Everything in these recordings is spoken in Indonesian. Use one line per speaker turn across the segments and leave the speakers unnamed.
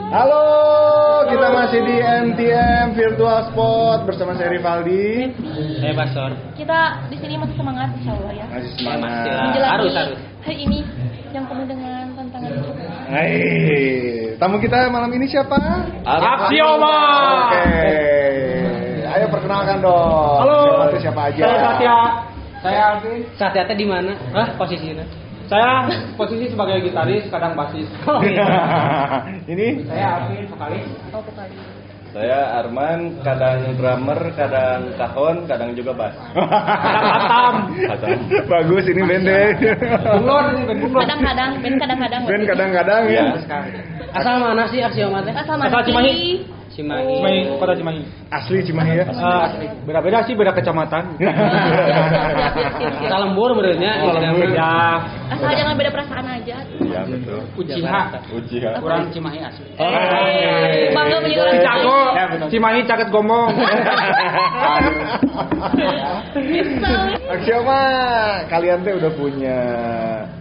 Halo, kita masih di MTM Virtual Spot bersama saya Rivaldi.
Saya Eh, Basor.
Kita di sini masih semangat insya Allah ya.
Masih
Masih
semangat.
lah.
Menjelang
harus,
ini,
harus.
Hari ini yang penuh dengan tantangan hidup.
Hai, tamu kita malam ini siapa?
Aksioma.
Oke. Ayo perkenalkan dong.
Halo.
Siapa tuh siapa aja?
Saya Satya. Saya Alvin.
Satya di mana? Hah? Posisinya?
Saya posisi sebagai gitaris, kadang basis.
Oh, iya.
ini
saya Alvin, vokalis.
Oh kali.
Saya Arman, kadang drummer, kadang kahon, kadang juga bass.
Kadang batam.
Kadang.
bagus ini bende.
Oh.
Bunglon ini band bunglon.
Kadang-kadang, Ben kadang-kadang.
Ben kadang-kadang ya.
Iya.
Asal mana sih Aksioma teh?
Asal
Asal
mana
Cimahi.
sih?
Cimahi.
Cimahi, kota Cimahi.
Asli Cimahi ya.
Eh, asli. Beda-beda sih, beda kecamatan.
Asal lembur menurutnya.
Ya,
Asal jangan beda perasaan aja.
Iya
Ya,
betul.
Ujiha.
Uji ya.
Kurang Cimahi asli.
Oh, iya,
iya.
Eh, bangga punya orang
Cago.
Cimahi.
Cimahi caket gomong.
Nyesel.
Aksioma, kalian teh udah punya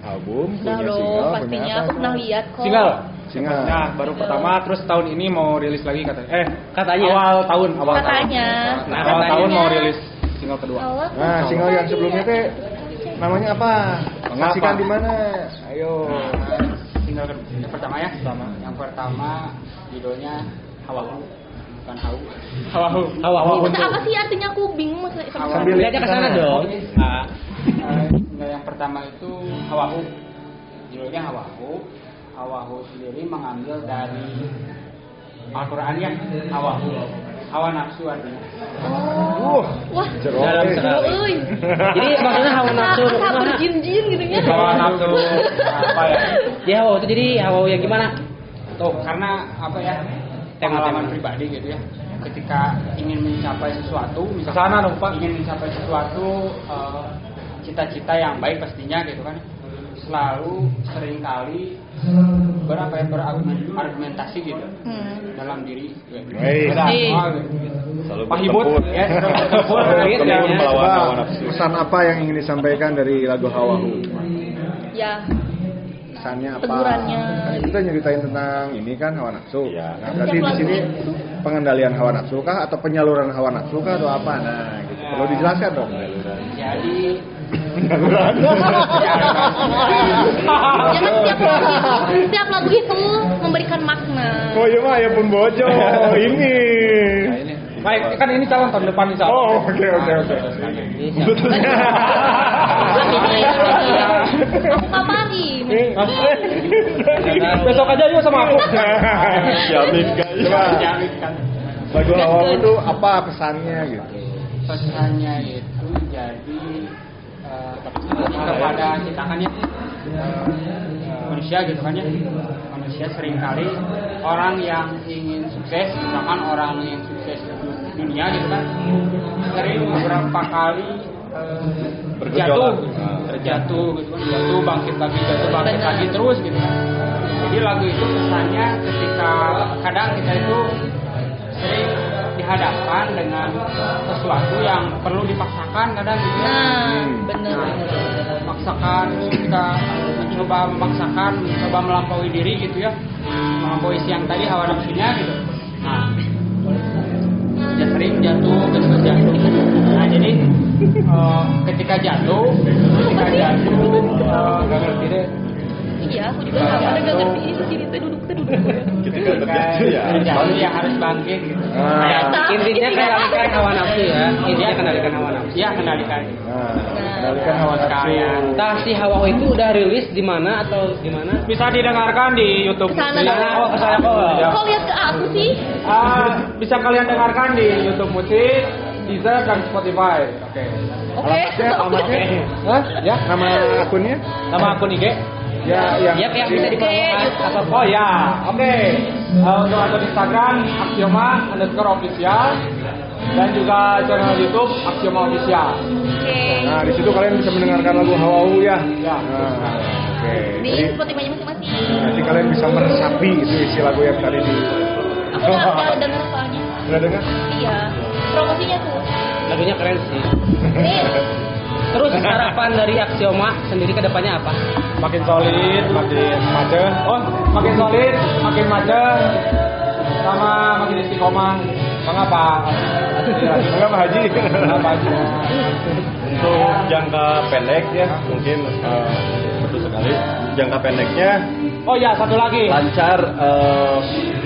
album,
Udah
punya
dong,
single, punya
Nah, pastinya
apa?
aku pernah lihat kok.
Single.
Single.
Nah, baru pertama terus tahun ini mau rilis lagi katanya. Eh,
Katanya.
awal tahun, awal
Katanya.
tahun. Nah, awal
Katanya.
tahun mau rilis single kedua.
Allah,
Nah, single yang sebelumnya teh namanya apa? Saksikan di mana? Ayo.
Single kedua. Yang pertama ya? Pertama. Yang pertama judulnya Hawahu. Bukan Hau. Hawahu.
Hawahu.
Itu apa sih artinya aku bingung maksudnya sama
Awal.
Nah,
sekali.
Sambil-
Lihat aja ke sana dong.
Nah.
Ah.
Eh, single yang pertama itu Hawahu. Judulnya Hawahu. Hawahu sendiri mengambil dari Al-Quran ya. Hawahu. Hawa nafsu artinya.
Uh,
Wah,
jeruk.
Dalam
eh.
sekali.
euy.
Jadi maksudnya hawa nafsu.
Asa- asa berjin-jin gitu ya.
Hawa nafsu apa ya?
Jadi hawa itu jadi hawa yang gimana?
Tuh, karena apa ya? Pengalaman pribadi gitu ya. Ketika ingin mencapai sesuatu, misalnya ingin mencapai sesuatu eh, cita-cita yang baik pastinya gitu kan. Selalu seringkali berapa ya berargumentasi gitu
Hmm.
dalam diri. Gitu.
Hei.
Ada
Hei.
apa gitu.
Selalu
Pahibut,
bertempur.
ya, selalu bertempur,
Selalu
gitu ya.
bertempur melawan
Coba,
hawa nafsu.
pesan apa yang ingin disampaikan dari lagu Hawahu?
Ya,
Pesannya apa?
Tegurannya.
Kita nyeritain tentang ini kan hawa nafsu.
Iya.
Nah, berarti di sini pengendalian hawa nafsu kah atau penyaluran hawa nafsu kah atau apa? Nah, gitu. Perlu dijelaskan dong.
Jadi
Penyaluran.
ya kan setiap lagu itu, setiap lagu itu memberikan makna.
Oh iya mah ya pun bojo ini.
baik kan ini calon tahun depan insya Allah.
Oh oke oke oke. Iya. Betulnya.
ya. Aku kapari.
Iya.
Besok aja yuk sama aku.
Jamin guys.
Coba
Jamin kan.
lagu awal itu apa pesannya gitu?
pesannya itu jadi eh, lebih kepada kita kan ya eh, manusia gitu kan ya manusia seringkali orang yang ingin sukses misalkan orang yang sukses di du- dunia gitu kan sering beberapa kali eh,
Bergejolak.
jatuh terjatuh gitu kan jatuh bangkit lagi jatuh bangkit lagi terus gitu kan jadi lagu itu pesannya ketika kadang kita itu sering dihadapkan dengan sesuatu yang perlu dipaksakan kadang gitu ya.
Nah, bener
Nah,
bener.
memaksakan kita mencoba memaksakan mencoba melampaui diri gitu ya melampaui siang tadi hawa nafsunya gitu nah dia sering jatuh gitu kan, jatuh nah jadi eh, ketika jatuh ketika jatuh eh, nggak ngerti deh
Iya, aku juga sama ada gak ngerti ini sini teh duduk teh duduk.
Ketika terjatuh ya.
Ketika jatuh ya harus bangkit gitu
Nah,
Intinya kendalikan hawa nafsu ya. Intinya kendalikan hawa nafsu.
ya kendalikan
nah, kendalikan hawa nafsu.
Entah si hawa itu udah rilis di mana atau gimana?
bisa didengarkan di YouTube Oh,
Kesana
Kesana
dong.
kok, kesana Iya. kok.
Kok lihat ke aku sih?
ya, Ah, bisa kalian dengarkan di YouTube Musik, Deezer dan Spotify. Oke.
Oke.
alamatnya.
Hah? Ya,
Nama akunnya?
nama akun Iya, IG?
Iya,
Ya, yang
Yap, yang bisa diperlukan.
Oke,
Apa
Oh ya, oke. Eh, untuk akun Instagram Axioma underscore official dan juga channel YouTube Axioma official.
Oke.
Nah, di situ kalian bisa mendengarkan lagu Hawahu ya.
Ya.
Nah, oke.
Di
Jadi
Spotify masing-masing.
nanti kalian bisa meresapi itu isi lagu yang tadi di
Aku udah udah denger soalnya.
Udah dengar?
Iya. Promosinya tuh.
Lagunya keren sih.
Nih,
Terus harapan dari Aksioma sendiri ke depannya apa?
makin solid, makin macet. Oh, makin solid, makin macet, sama makin istiqomah. Mengapa? Iya,
Enggak Pak Haji.
Mengapa? Haji?
Untuk jangka pendek ya mungkin eh, betul sekali. Jangka pendeknya
Oh ya, satu lagi.
lancar eh,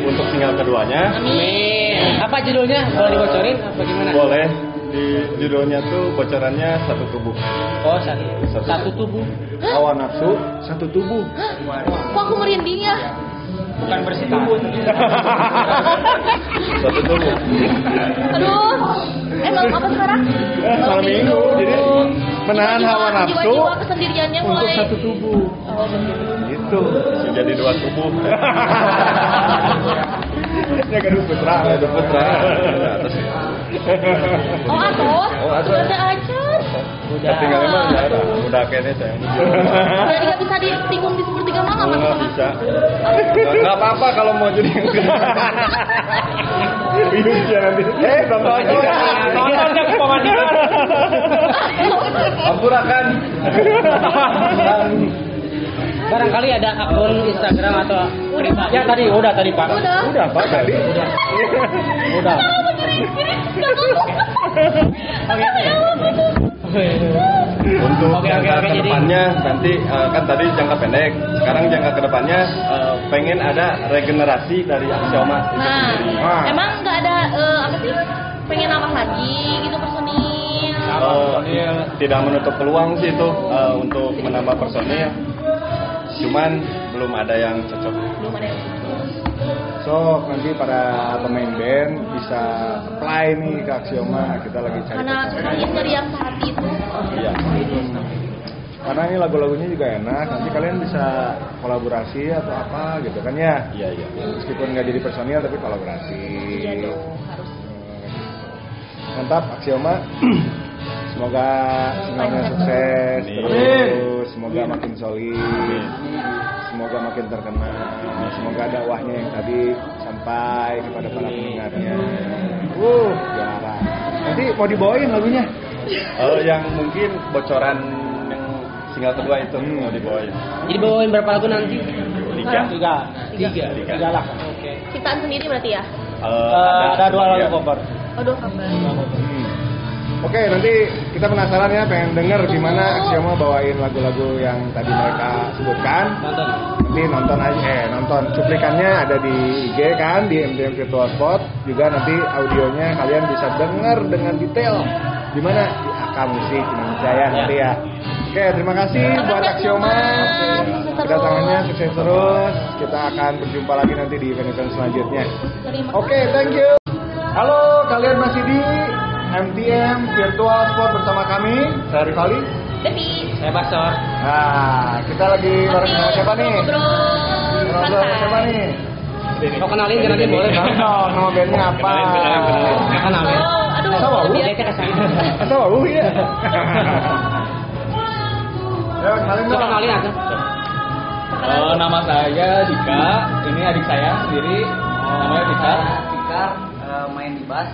untuk single keduanya.
Amin. Apa judulnya? Boleh dibocorin? Apa gimana?
Boleh di judulnya tuh bocorannya satu tubuh.
Oh, satu,
Satu.
satu tubuh.
Hah?
Hawa nafsu satu tubuh.
Kok aku merinding ya?
Bukan bersihkan.
Satu tubuh.
Aduh. Eh, malam apa sekarang?
Malam minggu jadi menahan
Jiwa-jiwa-
hawa nafsu
Jiwa-jiwa kesendiriannya
untuk
mulai.
satu tubuh.
Oh, begitu.
Gitu.
Menjadi dua tubuh.
Ya gaduh putra.
Satu putra. Terus
Oh, atos.
Oh, atos.
Udah acar.
Ketinggalan mah udah ada. Udah kayaknya sayang.
Udah nggak bisa ditikung di sepertiga malam
Oh,
atau
Nggak
apa?
bisa. Nggak apa-apa kalau mau jadi yang kedua.
Bingung dia nanti. Eh,
Oh,
nonton.
Nontonnya ke pemandian.
Ampurakan.
Barangkali ada akun Instagram atau
Udah.
ya tadi udah tadi Pak.
Udah.
Udah Pak tadi.
Udah.
Untuk
Oke, oke,
jangka
oke, jadi-
kedepannya nanti eh, kan tadi jangka pendek, sekarang jangka kedepannya eh, pengen ada regenerasi dari aksioma.
Nah,
Ah.
emang nggak ada eh, apa sih? Pengen nambah lagi gitu personil.
Eh, tidak menutup peluang sih itu eh, untuk menambah personil, cuman belum ada yang cocok.
Belum ada yang
Sok nanti para pemain band bisa apply nih ke Axioma. Kita lagi cari.
karena ya?
pemain.
lagi nyari yang sehati itu.
Iya.
Hmm. Karena ini lagu-lagunya juga enak, nanti kalian bisa kolaborasi atau apa gitu kan ya.
Iya, iya.
Meskipun nggak jadi personil tapi kolaborasi.
Iya dong, harus.
Mantap, Axioma. Semoga semuanya sukses
Amin.
terus, semoga makin
Ini.
solid, semoga makin terkenal, semoga dakwahnya yang tadi sampai kepada para pendengarnya. Uh, juara. Nanti mau dibawain lagunya?
Eh, yang mungkin bocoran yang single kedua itu Eh, mau dibawain.
Jadi bawain berapa lagu nanti?
Tiga.
Tiga.
Tiga.
Tiga.
Tiga lah.
Ciptaan sendiri berarti ya?
Eh,
Eh, ada dua lagu
sebagian.
cover.
Aduh, kabar.
Hmm. Oke, nanti kita penasaran ya, pengen denger gimana Axioma bawain lagu-lagu yang tadi mereka sebutkan.
Nonton.
Nanti nonton aja, eh nonton cuplikannya ada di IG kan, di MDM Virtual Spot. Juga nanti audionya kalian bisa denger dengan detail. Gimana? Di AK Musik Indonesia ya, nanti ya. Oke, terima kasih buat Axioma.
Sukses terus.
Kedatangannya sukses terus. Kita akan berjumpa lagi nanti di event-event selanjutnya.
Terima
Oke, thank you. Halo, kalian masih di MTM Virtual Sport bersama kami. Saya Rifali.
Devi.
Saya Basor.
Nah, kita lagi bareng sama siapa nih?
Ngobrol.
Bareng sama
santai.
siapa nih?
Mau kenalin jangan nanti boleh Bang. ya?
Kenalin dong, nama bandnya apa?
Kenalin, kenalin,
Mau kenalin.
Oh, aduh.
Sama Bu?
Dia ke sana.
Asal bau ya? Ya, kenalin
Mau
dong.
kenalin aku.
Eh, nama saya Dika, ini adik saya sendiri, namanya Dika.
gitar eh, main di bass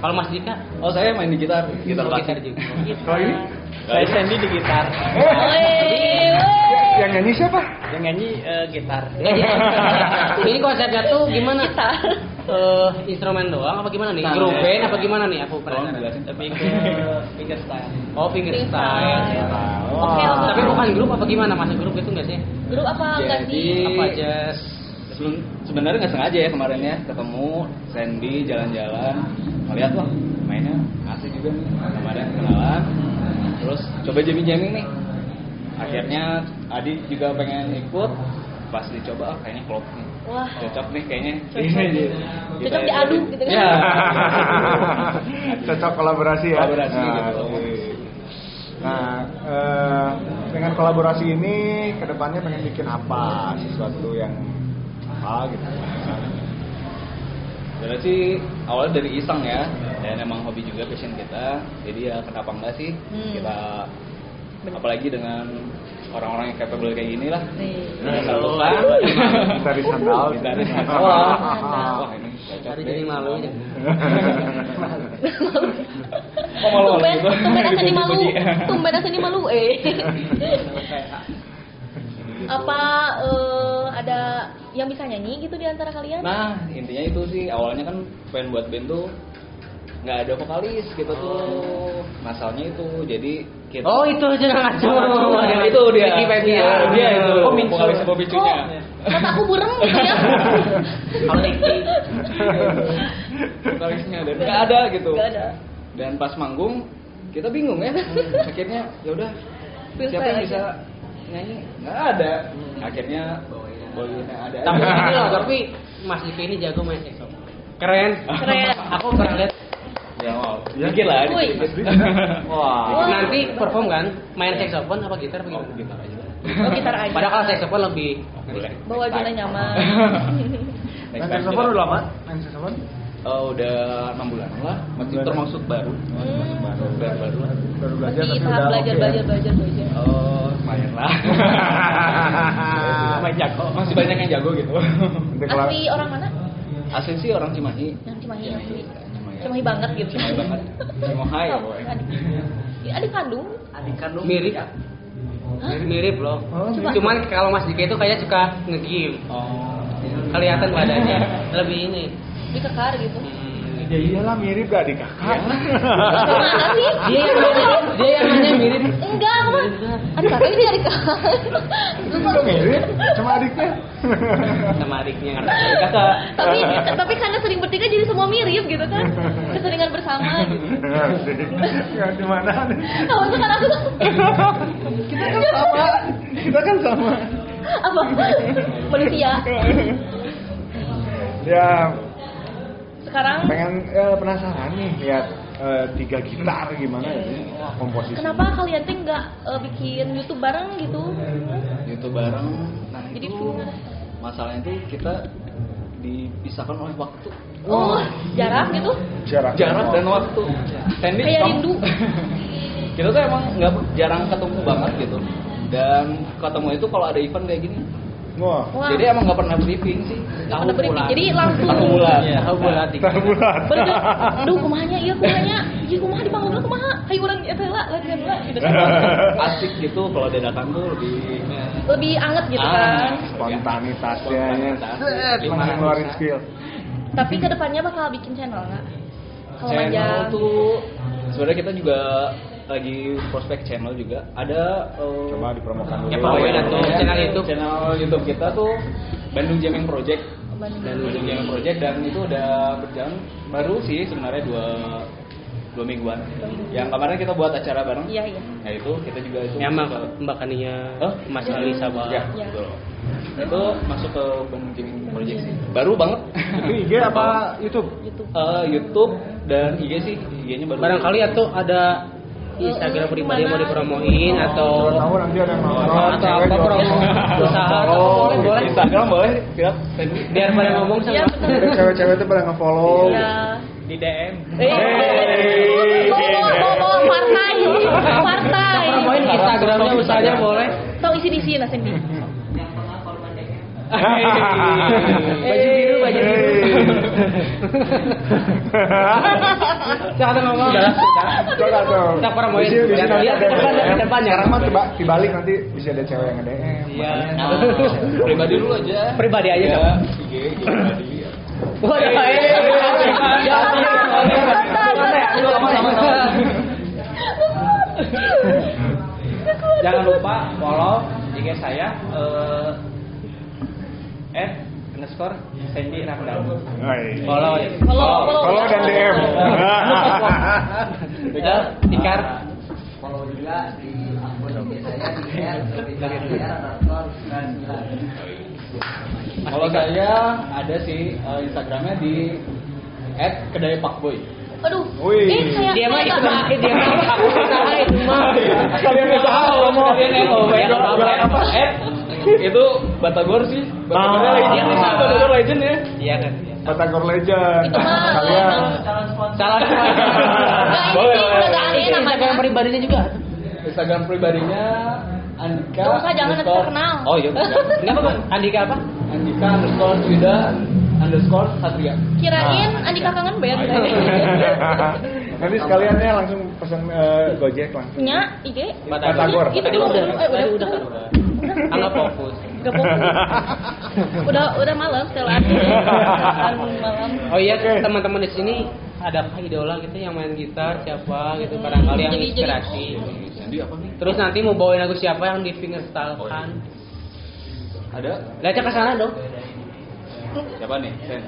Kalau Mas Dika,
oh saya main di gitar
gitar gitar juga. Oh, gitu.
Kalau ini?
saya Sandy di gitar
Eh,
Woi, woi.
yang nyanyi siapa?
yang nyanyi eh, gitar
Iya, Ini konsepnya tuh gimana?
Kita.
Eh, instrumen doang apa gimana nih?
Nah,
Grup
ya.
band apa gimana nih? Aku
tolong
penasaran.
jelasin tapi ke fingerstyle
Oh, fingerstyle.
Oke,
Wah.
oke.
Tapi bukan grup apa gimana? Masuk grup itu enggak sih?
Grup apa enggak sih?
Jadi-
Apa jazz?
sebelum sebenarnya nggak sengaja ya kemarin ya ketemu Sandy jalan-jalan melihat wah mainnya asik juga nih kemarin kenalan terus coba jamming-jamming nih akhirnya Adi juga pengen ikut pas dicoba ah, kayaknya klop nih
Wah.
cocok nih kayaknya
Cocok. Iya, Cocok diaduk gitu kan?
ya
Cocok kolaborasi ya.
Kolaborasi
nah,
gitu.
oke. Nah, eh, dengan kolaborasi ini kedepannya pengen bikin apa? Sesuatu yang apa gitu?
Sebenarnya sih awalnya dari iseng ya, dan emang hobi juga passion kita. Jadi ya kenapa enggak sih
Hmm.
kita apalagi dengan orang-orang yang capable kayak gini lah.
Nih.
Nah, selalu kan.
Dari sandal.
Dari sandal. Wah ini cocok ya.
Cari
deh.
jadi malu aja.
Kok malu-malu
tumben tumben
gitu?
asa di kan malu
Dipuji-puji.
tumben asa di malu eh apa eh, ada yang bisa nyanyi gitu di antara kalian
Nah intinya itu sih awalnya kan pengen buat band tuh nggak ada vokalis gitu tuh masalahnya itu jadi kita
Oh itu aja ngaco.
Oh, yang itu dia Oh.
Ricky Febian.
Iya, dia itu
Oh, Minsu.
vokalis Bobby
kok
Cunya
mata aku burem gitu ya
Kalau Ricky.
vokalisnya dan nggak ada gitu
Gak ada
dan pas manggung kita bingung ya akhirnya ya udah
Freestyle
siapa yang
Hmm. aja. Hmm.
bisa nyanyi nggak ada akhirnya Boyin ada
Tapi ini loh, tapi Mas Diki ini jago main saxophone. Keren.
Keren.
Aku pernah lihat.
ya mau dikit lah
Wih.
dikit. wah
Wah.
Nanti perform kan, main saxophone apa gitar apa gimana?
gitar gitu aja lah.
oh gitar aja
Padahal kalau saxophone lebih
boleh
bawa zona nyaman
Next
Main
time
saxophone
kita-
udah lama? Main saxophone?
Eh, udah enam bulan lah masih
Bulan.
termasuk baru
Hmm.
baru baru, baru lah
Baru belajar
Masih
tapi udah
tahap Iya, belajar,
oke ya?
belajar, belajar, belajar.
Oh, lumayan lah.
Hahaha.
Lumayan jago. Masih banyak yang jago gitu.
Nanti kelar.
Asli orang mana?
Asli sih orang Cimahi.
Yang Cimahi
Iya,
asli.
Cimahi.
Cimahi banget gitu.
Cimahi banget. Cimohay ya, boy.
Adik, ya, adik kandung.
mirip.
Hah?
Mirip loh.
Oh, mirip.
Cuman kalau Mas Diki itu kayak suka nge-game.
Oh.
Kelihatan badannya lebih ini.
Lebih kekar gitu.
Hmm.
Ya iyalah mirip gak adik kakak.
Gimana sih?
Dia yang nanya, dia yang nanya mirip.
Enggak, aku mah. Adik kakak ini adik kakak.
Itu udah mirip, cuma adiknya.
sama adiknya kakak
tapi tapi karena sering bertiga jadi semua mirip gitu kan. Keseringan bersama gitu.
Asik. Ya di mana nih?
Nah, waktu kan aku
Kita kan sama. Kita kan sama.
apa? Polisi ya.
Ya
Sekarang
pengen eh, penasaran nih lihat eh, tiga gitar gimana ya Wah, komposisi.
kenapa kalian tuh nggak eh, bikin YouTube bareng gitu?
YouTube bareng. Nah,
Jadi
itu
full.
masalahnya itu kita dipisahkan oleh waktu.
Oh, jarak gitu?
Jarak,
Jarak dan waktu. Sandy
Kayak
kamu-
rindu.
kita tuh emang nggak jarang ketemu banget gitu. Dan ketemu itu kalau ada event kayak gini,
Wah.
Wah.
Jadi emang nggak pernah briefing sih.
Nggak pernah briefing. Jadi langsung-
Tahu bulan.
Iya, tahu bulan.
Tar bulan.
Berarti, aduh kumahnya, iya kumahnya, iya kumaha di panggung kumaha, hayu orang ya tela latihan lah gitu kan.
Nah, Asik gitu kalau dadakan tuh lebih
Lebih anget gitu
Ah.
kan.
Spontanitasnya. ya.
Spontanitas.
Set,
Gimana
langsung ngeluarin
bisa.
skill.
Tapi kedepannya bakal bikin channel nggak? Kalau
Channel
manja,
tuh sebenarnya kita juga lagi prospek channel juga. Ada eh,
Coba dipromokan dulu.
Ya, pokoknya ada tuh
ya,
channel YouTube.
Channel YouTube kita tuh Bandung Jamming Project.
Bandung.
Bandung Jamming Project dan itu udah berjalan baru sih sebenarnya dua dua mingguan. Yang kemarin kita buat acara bareng.
iya iya.
Nah itu kita juga itu
ya
masuk ke-
mbak mbak Kania
Hah?
Mas Alisa
Ya,
Sabah
Iya.
betul. Itu masuk ke Bandung Gaming Project sih. Baru banget.
Itu IG apa YouTube?
YouTube.
Eh, YouTube dan IG sih, IG-nya baru.
barangkali atau ada Instagram pribadi mau dipromoin atau
Siapa tahu nanti ada yang nonton,
atau
cewek
apa
juga
promo
nonton.
usaha atau
Follow,
boleh boleh
gitu.
Instagram boleh, siap. Sandy.
biar pada ngomong sama
Iya betul.
Jadi Cewek-cewek itu pada nge-follow.
Oh.
Iya.
Di DM.
Iya.
Eh, bohong, bohong, partai, partai.
promoin Instagramnya usahanya boleh
Tahu isi di sini Nasendi.
Iya. baju biru baju biru jangan ngomong
Coba dong.
Kita promoin.
Di sini- di sini
Jangan lihat,
ada
depan-
DM.
depan ya.
Sekarang mah tiba- dibalik nanti bisa ada cewek yang nge-DM.
Iya. Pribadi dulu aja.
Pribadi aja,
Ya,
dong.
IG, IG pribadi.
iya,
Waduh, eh, jangan, jangan,
iya,
jangan.
Jangan lupa follow IG saya eh at underscore Sandy Ramdan.
Hai.
Follow ya.
Follow, follow.
Follow dan DM.
Iya.
Juga tikar. Follow saya ada sih eh, Instagramnya di at kedai pakboy.
Aduh,
Wih.
eh kayak
dia mah itu mah dia mah aku usaha itu mah Iya,
Kalian yang tahu ngomong. Kalian yang ngomong. Ya, apa? Eh, itu Batagor sih. Batagornya
Ah.
legend sih. Batagor legend ya.
iya kan
Batagor Legend.
Itu mah
Kalian.
salah
Nggak, ini
Boleh,
sih
boleh.
udah gak aneh
Iya,
namanya.
pribadinya
iya.
juga
Instagram pribadinya Andika.
Nggak usah, jangan, nanti
underscore-
terkenal.
Oh iya. benar.
kenapa Pak? Andika apa
Andika underscore Yuda underscore Satria.
Ah.
Kirain Andika kangen band.
Nanti sekaliannya langsung pesan eh, Gojek langsung.
Nya, ide.
Batagor.
Itu dulu.
Udah,
Eh, udah,
tadi
udah.
udah. Anggap fokus.
Gak fokus. Udah, udah malam, setelan. Setelan malam.
Oh iya,
Oke.
teman-teman di sini ada idola gitu yang main gitar siapa gitu barangkali yang
Jadi- jadi-
inspirasi. Terus nanti mau bawain lagu siapa yang di fingerstyle kan?
Ada
Baca ke sana dong.
siapa nih? Sen.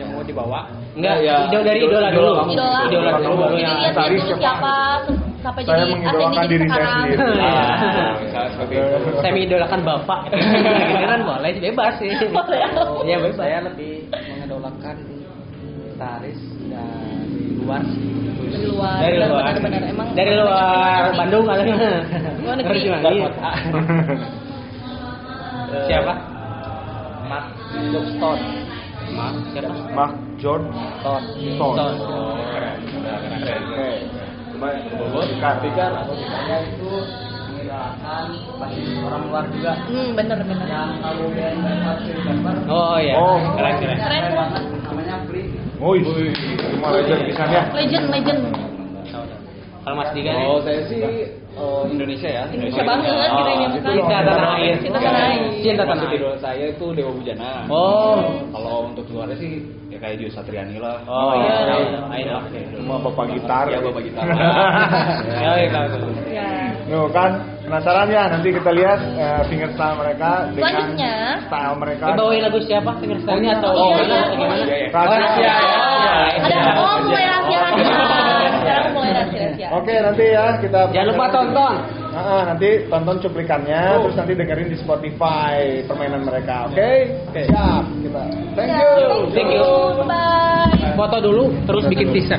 yang mau dibawa
Enggak,
Ya, ya.
jauh dari idola dulu.
Idola.
Idola. Iya,
Idola Iya, dulu baru
Jadi
yang
lihat
Tadi
dulu
siapa?
siapa terus sampai
Saya
jadi
mengidolakan
jadi
diri saya
sekarang.
sendiri.
Ah, misalnya seperti itu.
saya mengidolakan bapak. gitu kan boleh bebas sih.
Boleh.
Iya, bebas.
saya lebih mengidolakan gitaris dari luar sih
Dari luar.
Dari luar.
Ah, iya, Benar-benar emang.
Dari luar
banyak
Bandung
banget
kalau
sih.
nggak.
Luar negeri.
Terus gimana?
luar
Iya.
kota
Siapa?
Mark Jobstone
Maaf, siapa?
Mark George
Stone
Stone.
Keren.
Oke.
Cuma Bogor kan
saya itu mengidolakan bagi orang luar juga
Hmm, benar-benar.
yang kalau band Denmark Ciri Denmark
Oh iya.
Oh.
Keren, keren.
Keren banget.
namanya Blink
Oh, cuma legend pisannya.
Legend, legend.
Kalau Mas Diga nih.
Oh, saya sih eh, Indonesia ya.
Indonesia banget kiranya
Oh,
bukan.
Cinta tanah air.
Cinta tanah air.
Cinta tanah
Termasuk
air.
idola saya itu Dewa Bujana.
Oh.
Kalau untuk keluarnya sih ya kayak Dio Satriani lah.
Oh iya, iya.
Cuma bapak gitar.
Iya, bapak gitar.
Oh iya, tahu, tahu.
Ya.
Nuh kan penasaran ya nanti kita lihat eh, fingerstyle mereka dengan
Selanjutnya.
style mereka.
Ini bawain lagu siapa? Fingerstyle-nya atau
Oh, iya,
gimana?
iya.
Atau gimana? Oh, iya.
Rahasia.
Rahasia. Iya,
Ada oh mulai rahasia rahasia. Sekarang mulai rahasia rahasia.
Oke nanti ya kita.
Jangan lupa tonton. Oh.
Ah, ah, nanti tonton cuplikannya, terus nanti dengerin di Spotify permainan mereka. Oke? Siap kita. Thank you.
Thank you.
Iya, Bye.
Foto dulu, terus bikin teaser.